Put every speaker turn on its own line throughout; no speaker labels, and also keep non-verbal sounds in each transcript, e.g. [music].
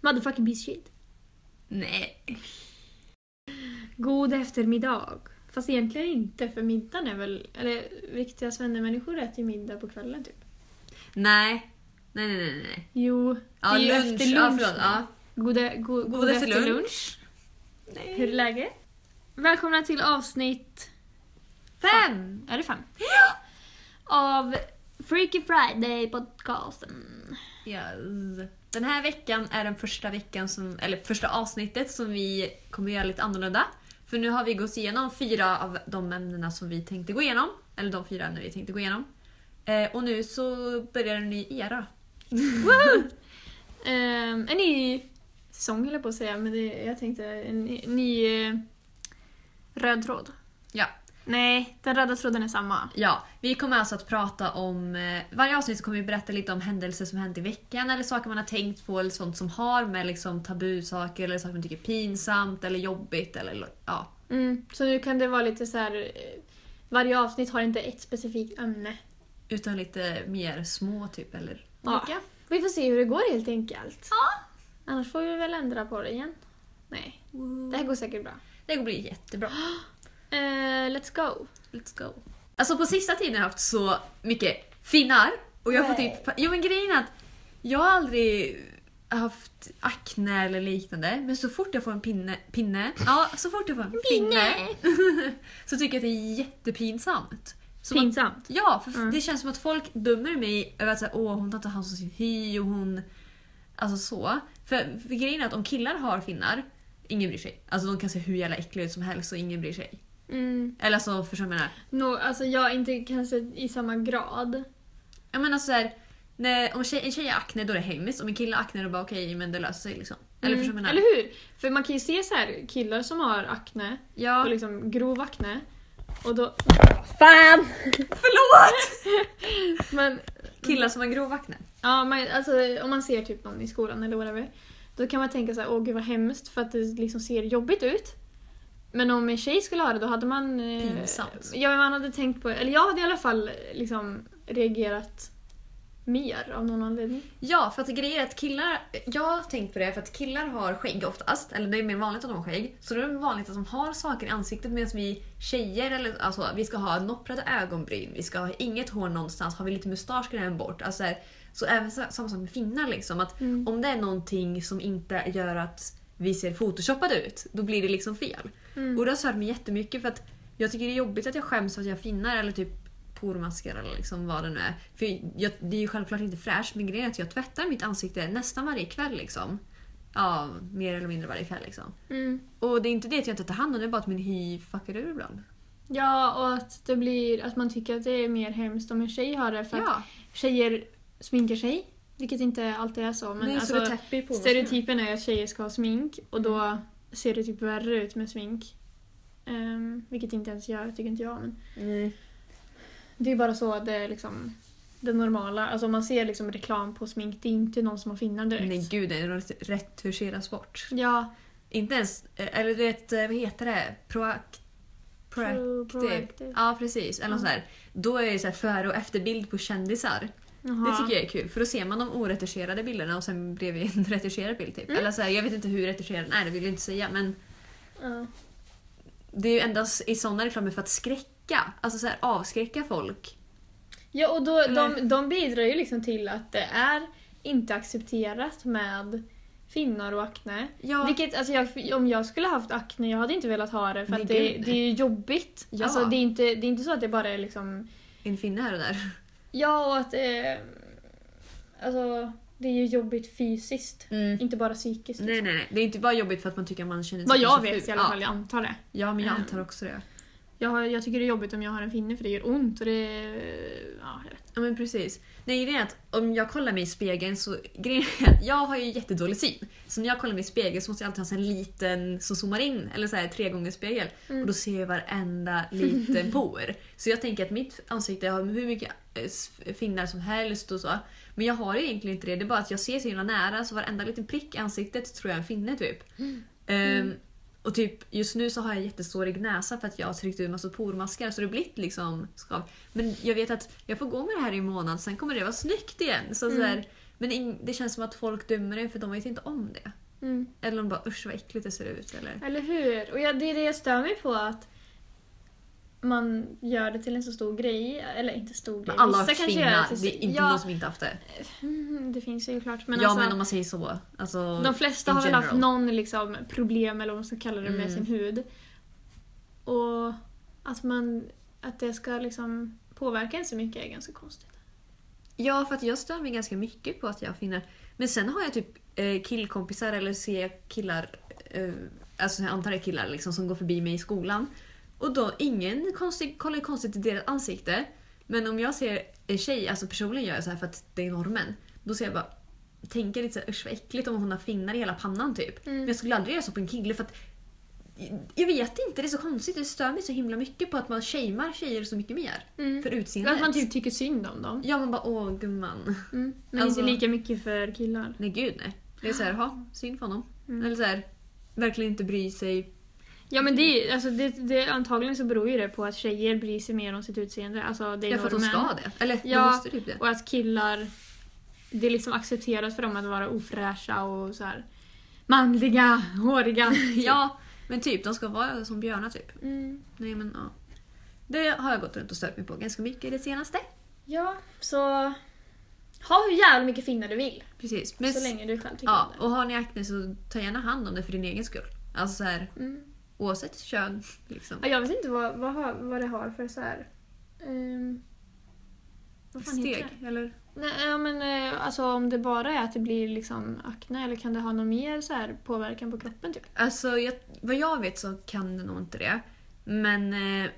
Motherfucking piece of shit.
Nej.
God eftermiddag. Fast egentligen inte, för middagen är väl... Eller riktiga svennemänniskor äter ju middag på kvällen typ.
Nej. Nej, nej, nej. nej.
Jo,
Ja,
det är
lunch.
ju efter lunch.
ja, förlåt. Ja.
God, e- go, god, efter lunch.
Nej.
Hur är läget? Välkomna till avsnitt...
Fem!
Är det fem? Av Freaky Friday podcasten.
Yes. Den här veckan är den första veckan som, eller första avsnittet som vi kommer göra lite annorlunda. För nu har vi gått igenom fyra av de ämnena som vi tänkte gå igenom. Eller de fyra ämnen vi tänkte gå igenom. Eh, och nu så börjar en ny era.
Ehm, en ny säsong höll jag på att säga, men det, jag tänkte en ny, ny eh, röd tråd.
Ja.
Nej, den röda tråden är samma.
Ja, vi kommer alltså att prata om... eh, Varje avsnitt så kommer vi berätta lite om händelser som hänt i veckan eller saker man har tänkt på eller sånt som har med liksom, tabusaker eller saker man tycker är pinsamt eller jobbigt eller ja.
Mm, så nu kan det vara lite så här... eh, Varje avsnitt har inte ett specifikt ämne.
Utan lite mer små typ eller
Ja.
olika.
Vi får se hur det går helt enkelt.
Ja.
Annars får vi väl ändra på det igen. Nej, det här går säkert bra.
Det kommer bli jättebra.
Eh, let's go.
Let's go. Alltså på sista tiden har jag haft så mycket finnar. Och jag får
Nej.
typ... Jo men grejen är att jag har aldrig haft akne eller liknande. Men så fort jag får en pinne... Pinne? Ja, så fort jag får en pinne. [laughs] så tycker jag att det är jättepinsamt. Som att,
Pinsamt.
ja, för f-
Mm.
det känns som att folk dömer mig över att säga, Åh, hon tar inte hand om sin hy och hon... Alltså så. För, för grejen är att om killar har finnar, ingen bryr sig. Alltså de kan se hur jävla äckliga ut som helst och ingen bryr sig.
Mm.
Eller alltså, förstår du vad jag menar?
Nå, alltså jag inte kanske i samma grad.
Jag menar såhär, när, om tjej, en tjej har akne då är det hemskt, om en kille har akne då bara okej men det löser sig liksom. Eller förstår du vad jag
Mm. Eller
menar?
hur? För man kan ju se så här killar som har akne, och
Ja,
liksom grov akne. Och då... Fan!
förlåt!
Men
Killar som har grov akne.
Ja, man, alltså, om man ser typ någon i skolan eller whatever. Då kan man tänka så här, åh gud vad hemskt för att det liksom ser jobbigt ut. Men om en tjej skulle ha det då hade man... eh,
Pinsamt.
Ja, men man hade tänkt på, eller jag hade i alla fall liksom reagerat mer av någon anledning.
Ja, för att grejen är att killar, jag har tänkt på det, för att killar har skägg oftast, eller det är mer vanligt att de har skägg, så då är det vanligt att de har saker i ansiktet medan vi tjejer, eller, alltså, vi ska ha nopprade ögonbryn, vi ska ha inget hår någonstans, har vi lite mustasch ska den bort. Alltså, så, här, så även så, samma sak med finnar, liksom, att
Mm.
om det är någonting som inte gör att vi ser photoshoppade ut, då blir det liksom fel.
Mm.
Och det har stört mig jättemycket för att jag tycker det är jobbigt att jag skäms för att jag har finnar eller typ pormasker eller liksom vad det nu är. För jag, det är ju självklart inte fräscht men grejen är att jag tvättar mitt ansikte nästan varje kväll liksom. Ja, mer eller mindre varje kväll liksom.
Mm.
Och det är inte det att jag inte tar hand om det, det är bara att min hy fuckar ur ibland.
Ja, och att det blir att man tycker att det är mer hemskt om en tjej har det för att
Ja,
tjejer sminkar sig. Vilket inte alltid är så. Men
nej, så
alltså,
det täpper på
Stereotypen är att tjejer ska ha smink och då ser det typ värre ut med smink. Ehm, vilket inte ens jag tycker inte jag. Men
Mm.
det är bara så att det är liksom det normala. Alltså om man ser liksom reklam på smink, det är inte någon som har finnar direkt.
Nej gud, det retuscheras bort.
Ja,
Inte ens, eh, eller du vet, vad heter det? Proact... Proact...
pro- proactive.
Ja precis, eller något
Mm.
sådär. Då är det så här före och efterbild på kändisar. Det tycker jag är kul för då ser man de oretuscherade bilderna och sen bredvid en [laughs] retuscherad bild typ.
Mm.
Eller så här, jag vet inte hur retuscherad den är, det vill jag inte säga men
Ja.
det är ju endast i sådana reklamer för att skräcka, alltså så här, avskräcka folk.
Ja, och då,
Eller-
de, de bidrar ju liksom till att det är inte accepterat med finnar och akne.
Ja,
Vilket, alltså jag, om jag skulle haft akne, jag hade inte velat ha det för
Nej,
att det,
gud.
det är ju jobbigt.
Ja.
Alltså, det, är inte, det är inte så att det bara är liksom...
en finne här och där.
Ja, och att... Eh, alltså, det är ju jobbigt fysiskt. Inte bara psykiskt. liksom.
Nej, nej, nej. Det är inte bara jobbigt för att man tycker att man känner sig
Mm. Vad jag
så
vet
ful.
i alla fall, Mm.
Ja,
jag antar det.
ja men jag antar också det.
Jag, har, jag tycker det är jobbigt om jag har en finne för det gör ont och det... Ja, jag vet.
Ja men precis. Nej grejen är att om jag kollar mig i spegeln så... Grejen är att jag har ju jättedålig syn. Så när jag kollar mig i spegeln så måste jag alltid ha en sån här liten som zoomar in. Eller så här tre gånger spegel.
Mm.
Och då ser jag varenda liten por. Så jag tänker att mitt ansikte har hur mycket eh, s- finnar som helst och så. Men jag har ju egentligen inte det. Det är bara att jag ser så himla nära så varenda liten prick i ansiktet tror jag är en finne typ. Ehm, och typ just nu så har jag jättesårig näsa för att jag har tryckt ut massa pormaskar så det har blivit liksom skav. Men jag vet att jag får gå med det här i en månad sen kommer det vara snyggt igen. Så
Mm.
sådär, Men ing- det känns som att folk dömer en för de vet inte om det.
Mm.
Eller de bara usch vad äckligt det ser ut. Eller...
Eller hur? Och jag, det är det jag stör mig på att man gör det till en så stor grej. Eller inte stor grej.
Men alla har
Vissa kanske
kvinnor,
gör
det,
till-
är inte
ja,
någon som inte haft det.
mm, Det finns ju klart. Men
ja
alltså,
men om man säger så. Alltså,
de flesta
in
har väl haft
general.
någon liksom, problem eller vad man ska kalla det med
Mm.
sin hud. Och att, man, att det ska liksom påverka en så mycket är ganska konstigt.
Ja, för att jag stör mig ganska mycket på att jag finner... Men sen har jag typ eh, killkompisar eller ser jag killar, eh, alltså jag antar det är killar liksom, som går förbi mig i skolan. Och då, ingen konstig, kollar ju konstigt i deras ansikte. Men om jag ser en tjej, alltså personligen gör jag så här för att det är normen. Då ser jag bara, tänker lite så här, usch vad äckligt om hon har finnar i hela pannan typ.
Mm.
Men jag skulle aldrig göra så på en kille för att jag vet inte, det är så konstigt. Det stör mig så himla mycket på att man shamear tjejer så mycket mer.
Mm.
För utseendet.
Att man typ tycker synd om dem.
Ja, man bara åh gumman. [laughs]
Mm. Men
Alltså-
inte lika mycket för killar.
Nej gud nej. Det är såhär, ha, synd för honom.
Mm.
Eller såhär, verkligen inte bry sig.
Ja men det, är ju- alltså, det, det, antagligen så beror ju det på att tjejer bryr sig mer om sitt utseende. Alltså, det är
Jag för att de
normen.
ska det. Eller
Ja,
de måste
[laughs]
typ det.
Och att killar, det är liksom accepterat för dem att vara ofräscha och så här manliga, håriga.
[laughs] Ja, men typ de ska vara som björnar typ.
Mm.
Nej men ja. Det har jag gått runt och stört mig på ganska mycket i det senaste.
Ja, så ha hur jävla mycket finnar du vill.
Precis. Men,
så länge du själv tycker
Ja,
om
och har ni akne så ta gärna hand om det för din egen skull. Alltså såhär,
det. Mm.
oavsett kön liksom.
Ja, jag vet inte vad, vad, har- vad det har för så här... ehm, vad fan heter
Steg,
det?
eller?
Nej, ja, men eh, alltså om det bara är att det blir liksom akne eller kan det ha någon mer så här påverkan på kroppen typ?
Alltså jag, vad jag vet så kan det nog inte det. Men eh,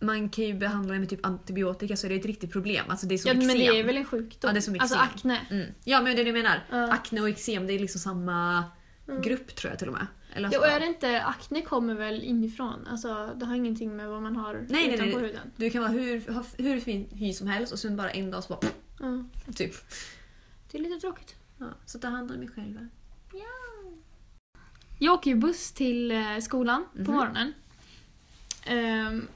man kan ju behandla det med typ antibiotika så är det ett riktigt problem. Alltså det är som
Ja, men
eksem.
det är väl en sjukdom?
Ja, det är som
alltså
eksem.
akne.
Mm. Ja men det är det jag menar.
Ja.
Akne och eksem det är liksom samma grupp tror jag till och med. Eller
Ja,
alltså,
och är det inte, akne kommer väl inifrån? Alltså, det har ingenting med vad man har
nej,
utanpå
nej.
huden.
Du kan vara hur, ha hur fin hy som helst och sen bara en dag så bara
Ja,
typ.
det är lite tråkigt.
Ja, så ta hand om er själva.
Jag åker ju buss till eh, skolan
Mhm.
på morgonen. Ehm,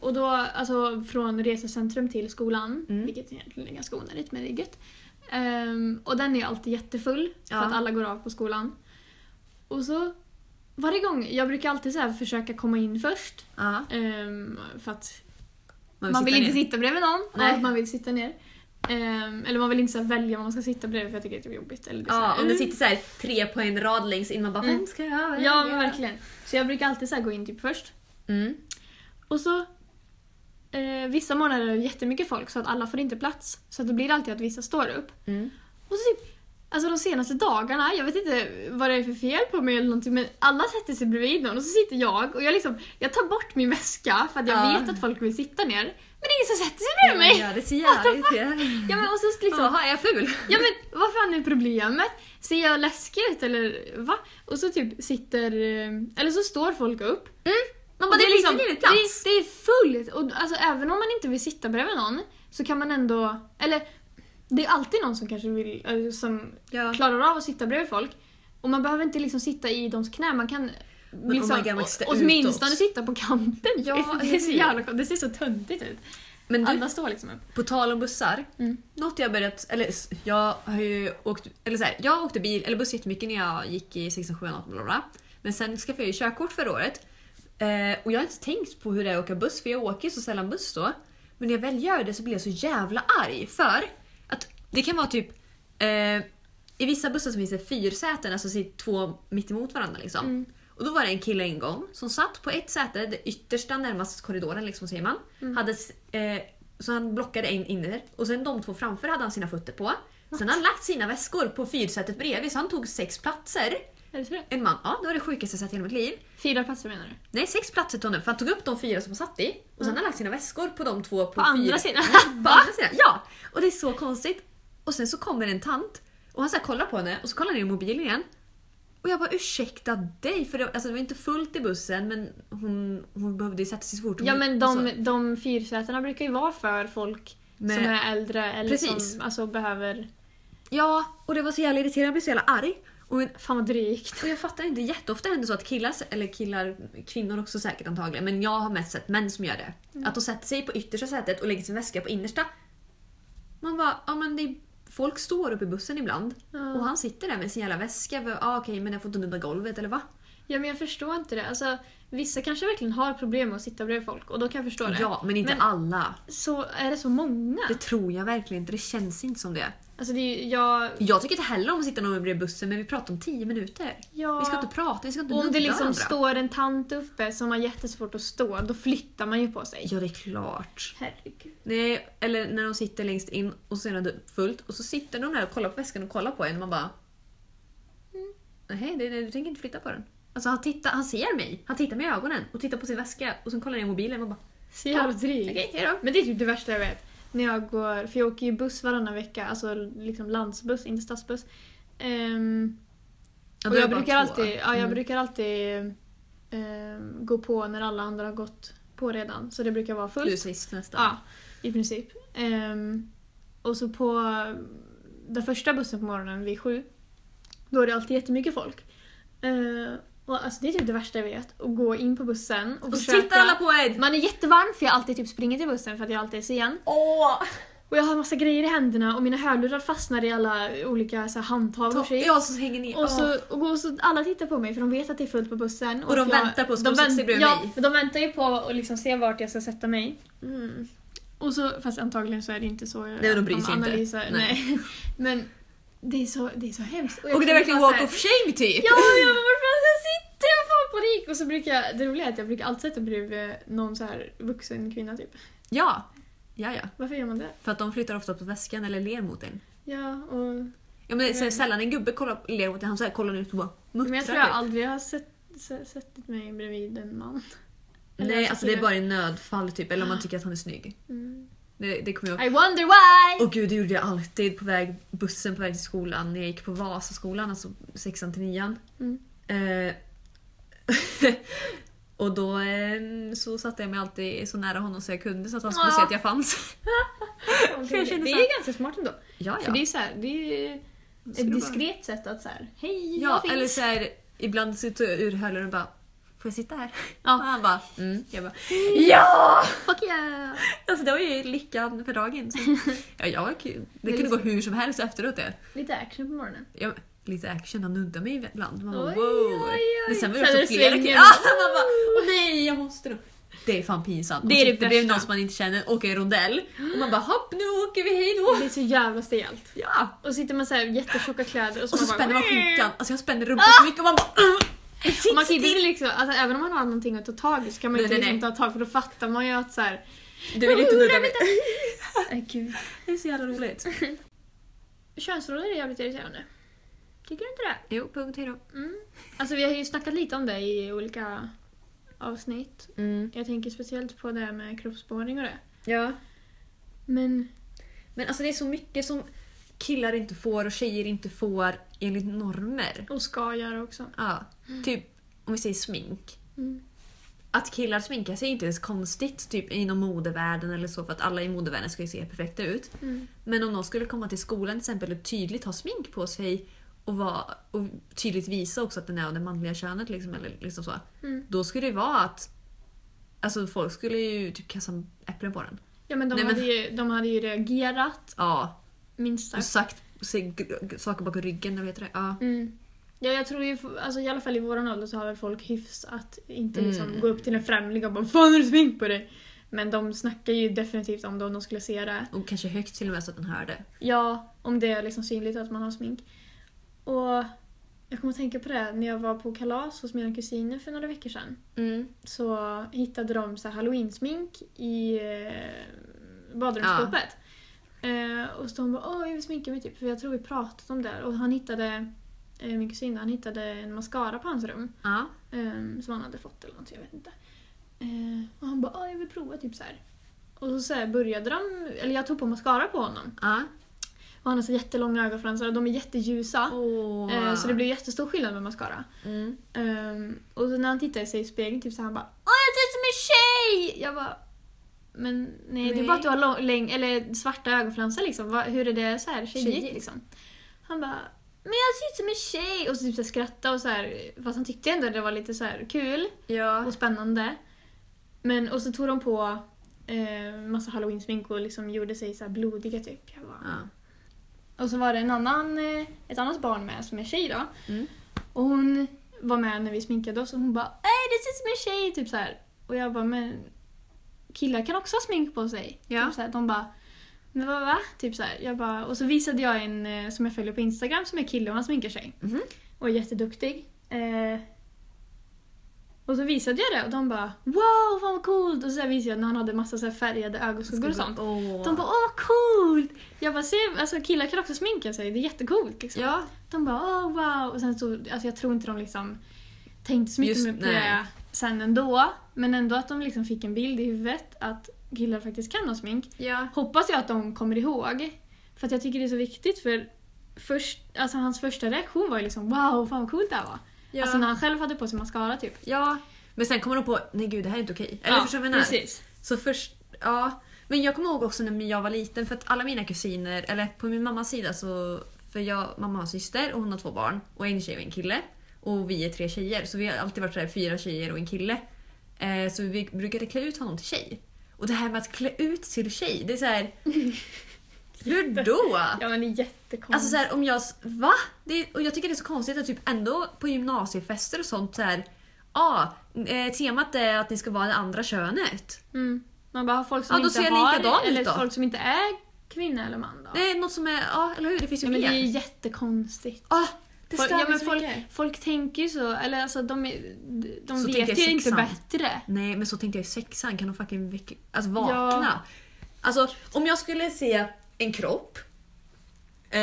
och då, alltså från resecentrum till skolan,
Mm.
vilket egentligen är ganska onödigt men det är gött. Ehm, och den är alltid jättefull för
Ja.
att alla går av på skolan. Och så varje gång, jag brukar alltid så här försöka komma in först.
Ja,
ehm, för att
man vill,
man vill
sitta
inte
ner.
sitta bredvid någon,
Nej.
och man vill sitta ner. Ehm, eller man vill inte så här välja vad man ska sitta bredvid för jag tycker det är jobbigt. Eller det är så
Ja,
här,
om det
"Mm."
sitter så här tre på en rad längst in man bara
Mm.
vem ska jag
Ja men verkligen. Så jag brukar alltid så här gå in typ först.
Mm.
Och så eh, vissa morgnar är det jättemycket folk så att alla får inte plats. Så att det blir alltid att vissa står upp.
Mm.
Och så typ, alltså de senaste dagarna, jag vet inte vad det är för fel på mig eller någonting men alla sätter sig bredvid någon och så sitter jag och jag liksom, jag tar bort min väska för att jag
Ja.
vet att folk vill sitta ner. Men det är ingen som sätter sig bredvid mig!
Ja, det ser jävligt ut.
Ja men och så liksom,
Jaha, är jag ful?
Ja men vad fan är problemet? Ser jag läskig ut eller va? Och så typ sitter, eh, eller så står folk upp.
Mm. Man
Och
bara det är liksom,
det,
ingen
det
plats.
är fullt! Och alltså även om man inte vill sitta bredvid någon så kan man ändå, eller det är alltid någon som kanske vill, eh, som
Ja.
klarar av att sitta bredvid folk. Och man behöver inte liksom sitta i dems knä, man kan liksom,
my God, man sitter
å- åtminstone
utåt.
sitta på kanten.
Ja,
[laughs] det, är så
eller hur?
jävla, kon- det ser så töntigt ut.
Men du,
Alla står liksom upp.
På tal om bussar.
Mm.
Något jag börjat... Eller s- jag har ju åkt... Eller så här, jag åkte bil eller buss jättemycket när jag gick i 16, 7, 18, bla, bla, bla. Men sen skaffade jag ju körkort förra året. Eh, och jag har inte tänkt på hur det är att åka buss för jag åker ju så sällan buss då. Men när jag väl gör det så blir jag så jävla arg för att det kan vara typ... Eh, I vissa bussar så finns det fyrsäten, alltså sitter två mitt emot varandra liksom. Och då var det en kille en gång som satt på ett säte, det yttersta närmast korridoren liksom säger man. Hade, s- eh, så han blockade en inner och sen de två framför hade han sina fötter på. Sen har han lagt sina väskor på fyrsätet bredvid så han tog sex platser.
Är det så det? är?
En man, ja det var det sjukaste jag sett i hela mitt liv.
Fyra platser menar du?
Nej sex platser tog han upp för han tog upp de fyra som han satt i och sen har han lagt sina väskor på de två på,
På andra
fyra.
sidan?
[laughs] På andra sidan, ja! Och det är så konstigt. Och sen så kommer en tant och han så här kollar på henne och så kollar han ner i mobilen igen. Och jag bara ursäkta dig för det, alltså det var inte fullt i bussen men hon, hon behövde ju sätta sig så fort hon
Ja
gick
men
och så.
de, de fyrsätena brukar ju vara för folk
Men-
som är äldre eller
Precis.
som alltså, behöver...
Ja, och det var så jävla irriterande, jag blev så jävla arg. Och,
Fan vad drygt.
och jag fattar inte, jätteofta händer så att killar, eller killar, kvinnor också säkert antagligen, men jag har mest sett män som gör det.
Mm.
Att de sätter sig på yttersta sätet och lägger sin väska på innersta. Man bara, ja men det är folk står uppe i bussen ibland och
Ja.
han sitter där med sin jävla väska. Bara, Ah, Okej, men jag får inte nudda golvet eller va?
ja, men jag förstår inte det. Alltså, vissa kanske verkligen har problem med att sitta bredvid folk och då kan jag förstå det.
Ja, men inte
Men-
alla.
Så är det så många?
Det tror jag verkligen inte. Det känns inte som det.
Alltså det är ju, jag...
Jag tycker inte heller om att sitta någon bredvid bussen, men vi pratar om 10 minuter.
Ja.
Vi ska inte prata, vi ska inte
Och om det
nudda
liksom
varandra.
står en tant uppe som har jättesvårt att stå, då flyttar man ju på sig.
Ja, det är klart.
Herregud.
Nej, eller när de sitter längst in och sen är det fullt och så sitter de där och kollar på väskan och kollar på en och man bara...
Mm.
Nej, det, det, du tänker inte flytta på den. Alltså han, tittar, han ser mig, han tittar mig i ögonen och tittar på sin väska och sen kollar han i mobilen och man bara...
Så jävla dryg.
Okej, hejdå.
Men det är typ det värsta jag vet. När jag går, för jag åker ju buss varannan vecka, alltså liksom landsbuss, inte stadsbuss. Ehm,
Ja,
och
då är
jag
det bara
brukar,
två.
alltid, ja, jag
Mm.
brukar alltid ehm, gå på när alla andra har gått på redan, så det brukar vara
Du är
fullt.
sist nästan.
Ja, i princip. Ehm, och så på den första bussen på morgonen vid sju, då är det alltid jättemycket folk. Ehm, och alltså, det är typ det värsta jag vet, att gå in på bussen och,
Och så
försöka...
tittar alla på en!
Man är jättevarm för jag alltid typ springer till bussen för att jag alltid är sen.
Åh!
Och jag har massa grejer i händerna och mina hörlurar fastnar i alla olika så här, handtag och shit.
Ja, så hänger ni...
Och så, och går- så alla tittar på mig för de vet att det är fullt på bussen.
Och de
att
väntar på oss,
de
de sitter
vänt-
bredvid
ja,
mig.
men de väntar ju på att liksom se vart jag ska sätta mig.
Mm.
Och så, fast antagligen så är det inte så. Nej,
men de bryr sig inte.
Analyser, nej. [laughs] Men det är så, det är så hemskt. jag
Och det är
känner
verkligen
bara så
walk
här,
of shame typ!
Ja, ja men varför fan sitter jag fan panik? Och så brukar jag, det roliga är att jag brukar alltid sätta mig bredvid någon så här vuxen kvinna typ.
Ja. ja, ja.
Varför gör man det?
För att de flyttar ofta på väskan eller ler mot en.
Ja, och...
Ja, men så är det sällan en gubbe kollar, ler mot en, han så här kollar ut och bara muttrar.
Mm. Men jag tror jag
typ.
aldrig har sett, se- sett mig bredvid en man. Eller
Nej,
alltså
alltså det är
kille.
bara i nödfall typ, eller om
Ah.
man tycker att han är snygg.
Mm.
Det, det kommer jag ihåg.
I wonder why!
Åh gud, det gjorde jag alltid på väg, bussen på väg till skolan när jag gick på Vasaskolan, alltså sexan till nian.
Mm.
Eh, [laughs] och då eh, så satte jag mig alltid så nära honom så jag kunde så att han skulle se
Ja.
att jag fanns. [laughs]
det
jag känner
är
så här-
ju ganska smart ändå.
Ja,
För det
Ah, ja.
är så här, det är ju
Så då
ett
bara-
diskret sätt att så här, hej,
Ja,
jag
eller
finns.
så här, ibland sitter jag ur hörlurarna och bara Får jag sitta här?
Ja.
Och han bara mm. Jag bara JA!
Fuck yeah!
Alltså det var ju lyckan för dagen. Så.
[laughs]
Ja, jag var kul. Det kunde gå hur som helst efteråt det.
Lite action på morgonen.
Jag, lite action, han nuddade mig ibland. Man bara,
Oj,
wow.
oj, oj.
Men sen var det
Sen är
också
det
flera
svängen.
killar. Ah, man bara, åh nej jag måste nog. Det är fan pinsamt.
Det är
Och så-
det
det blev
värsta.
någon som man inte känner åka i rondell och man bara hopp nu åker vi, hejdå.
Det är så jävla stelt.
Ja.
Och sitter man så här jättetjocka kläder och så,
Och så
man bara,
spänner man skinkan, alltså jag spänner rumpan så mycket och man bara "Ugh." Jag sitter
Och Man kan ju inte
still.
liksom, alltså, även om man har någonting att ta tag i så kan man
Nej,
inte
nej,
liksom
nej.
ta tag för då fattar man ju att så
[laughs]
här.
Du vill inte nudda mig.
Äh, gud.
Det är så jävla roligt.
Könsroller är jävligt irriterande. Tycker du inte det?
Jo, punkt hejdå.
Mm. Alltså vi har ju snackat lite om det i olika avsnitt.
Mm.
Jag tänker speciellt på det här med kroppsspårning och det.
Ja.
Men
Men alltså det är så mycket som killar inte får och tjejer inte får enligt normer.
och ska göra också.
Ja. Typ om vi säger smink.
Mm.
Att killar sminkar sig är inte ens konstigt typ inom modevärlden eller så för att alla i modevärlden ska ju se perfekta ut.
Mm.
Men om någon skulle komma till skolan till exempel och tydligt ha smink på sig och, vara, och tydligt visa också att den är av det manliga könet liksom, eller liksom så.
Mm.
Då skulle det vara att alltså folk skulle ju typ kasta äpplen på den.
Ja men de,
Nej, men-
hade Ju, de hade ju reagerat
Ja,
minst
och
sagt.
sagt sig, gr- saker bakom ryggen eller vad heter det? Ja.
Mm. Ja jag tror ju, alltså, i alla fall i våran ålder så har väl folk hyfs att inte
Mm.
liksom gå upp till en främling och bara Fan har du smink på dig? Men de snackar ju definitivt om det om de skulle se det.
Och kanske högt till och med så att den hörde.
Ja, om det är liksom synligt att man har smink. Och jag kommer att tänka på det här, när jag var på kalas hos mina kusiner för några veckor sedan. Så hittade de så här halloween-smink i eh, badrumsskåpet. Eh, och så de bara åh jag vill sminka mig typ för jag tror vi pratat om det. här." Och han hittade, eh, min kusin, han hittade en mascara på hans rum.
Ja.
Ehm, som han hade fått eller något, jag vet inte. Eh, och han bara åh jag vill prova typ så här. Och så, så här började de, eller jag tog på mascara på honom.
ja.
Och han har så jättelånga ögonfransar och de är jätteljusa.
Åh.
Eh, Så det blir jättestor skillnad med mascara.
Mm.
Ehm, och så när han tittar i sig i spegeln typ så han bara Åh jag ser ut som en tjej! Jag bara Men nej, det är
Nej.
bara att du har lång, läng, eller svarta ögonfransar liksom. Va, hur är det så här tjejigt
Tjejigt.
liksom? Han bara Men jag ser ut som en tjej! Och så typ så här skrattade och så här Fast han tyckte ändå att det var lite så här kul
Ja.
och spännande. Men och så tog de på eh, massa halloween-smink och liksom gjorde sig så här blodiga typ. Jag bara,
ja.
Och så var det en annan, eh, ett annat barn med som är tjej då.
Mm.
Och hon var med när vi sminkade oss och hon bara Ey det ser ut som en tjej! Typ så här. Och jag bara men killar kan också ha smink på sig.
Ja.
Typ så här. De bara men vad va? Typ så här. Jag bara, och så visade jag en eh, som jag följer på Instagram som är kille och han sminkar sig.
Mhm.
Och är jätteduktig. Eh, och så visade jag det och de bara wow fan vad coolt! Och så här visade jag när han hade massa så här färgade ögonskuggor och sånt.
Åh.
De bara åh vad coolt! Jag bara se, alltså killar kan också sminka sig, det är jättecoolt liksom.
Ja,
De bara åh wow! Och sen så, alltså jag tror inte de liksom tänkte så mycket
Just-
med på
nej.
det sen ändå. Men ändå att de liksom fick en bild i huvudet att killar faktiskt kan ha smink.
ja.
Hoppas jag att de kommer ihåg. För att jag tycker det är så viktigt för först, alltså hans första reaktion var ju liksom wow fan vad coolt det här var.
ja.
Alltså när han själv hade på sig mascara typ.
ja. Men sen kommer de på, nej gud det här är inte okej. Eller
ja,
förstår du vad jag menar?
Precis.
Så först, ja. Men jag kommer ihåg också när jag var liten för att alla mina kusiner, eller på min mammas sida så, för jag, mamma har en syster och hon har två barn och en tjej och en kille. Och vi är tre tjejer så vi har alltid varit sådär fyra tjejer och en kille. Eh, så vi brukade klä ut honom till tjej. Och det här med att klä ut till tjej, det
[laughs]
är såhär... Hur då?
Ja men det är jättekonstigt.
Alltså såhär om jag... Va? Det, och jag tycker det är så konstigt att typ ändå på gymnasiefester och sånt såhär... Ja, eh, temat är att ni ska vara det andra könet.
Mm. Man bara har folk som
Ja, då
inte
ser jag
har,
likadan ut
eller
då.
folk som inte är kvinna eller man då.
Det är något som är, ja eller hur? Det finns ju
Nej, men det
mer.
är jättekonstigt.
Ah, det
Folk,
stör
ja,
mig
men
så
folk,
mycket.
folk tänker ju så, eller alltså de, är- de
Så tänker
vet
jag
ju inte
sexan.
bättre.
Nej men så tänkte jag i sexan, kan de fucking väcka, alltså vakna? Alltså om jag skulle se en kropp eh,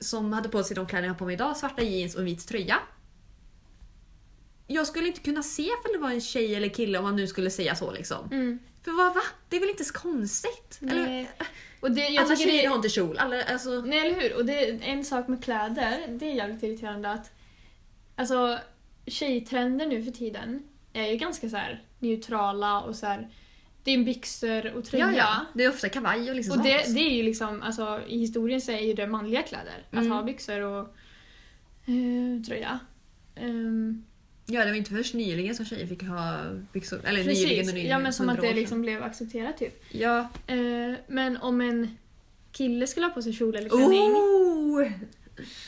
som hade på sig de kläder jag har på mig idag, svarta jeans och en vit tröja. Jag skulle inte kunna se för det var en tjej eller kille om man nu skulle säga så liksom.
Mm.
För vad, va? Det är väl inte så konstigt? Eller,
Nej. Och det, jag
alla
tycker
tjejer
det,
har inte kjol. Alla, alltså,
Nej eller hur? Och det är en sak med kläder, det är jävligt irriterande att alltså tjejtrender nu för tiden är ju ganska så här neutrala och så här det är byxor och tröja.
ja, ja. Det är ofta kavaj och liksom
Och det,
sånt.
det är ju liksom, alltså i historien så är ju det manliga kläder. Att
Mm.
ha byxor och eh, tröja. Ehm,
Ja, det var inte först nyligen som tjejer fick ha byxor. Eller nyligen och
precis,
nyligen.
ja men som att
hundra
det
år sedan.
liksom blev accepterat typ.
Ja.
Eh, men om en kille skulle ha på sig kjol eller klänning,
Oh!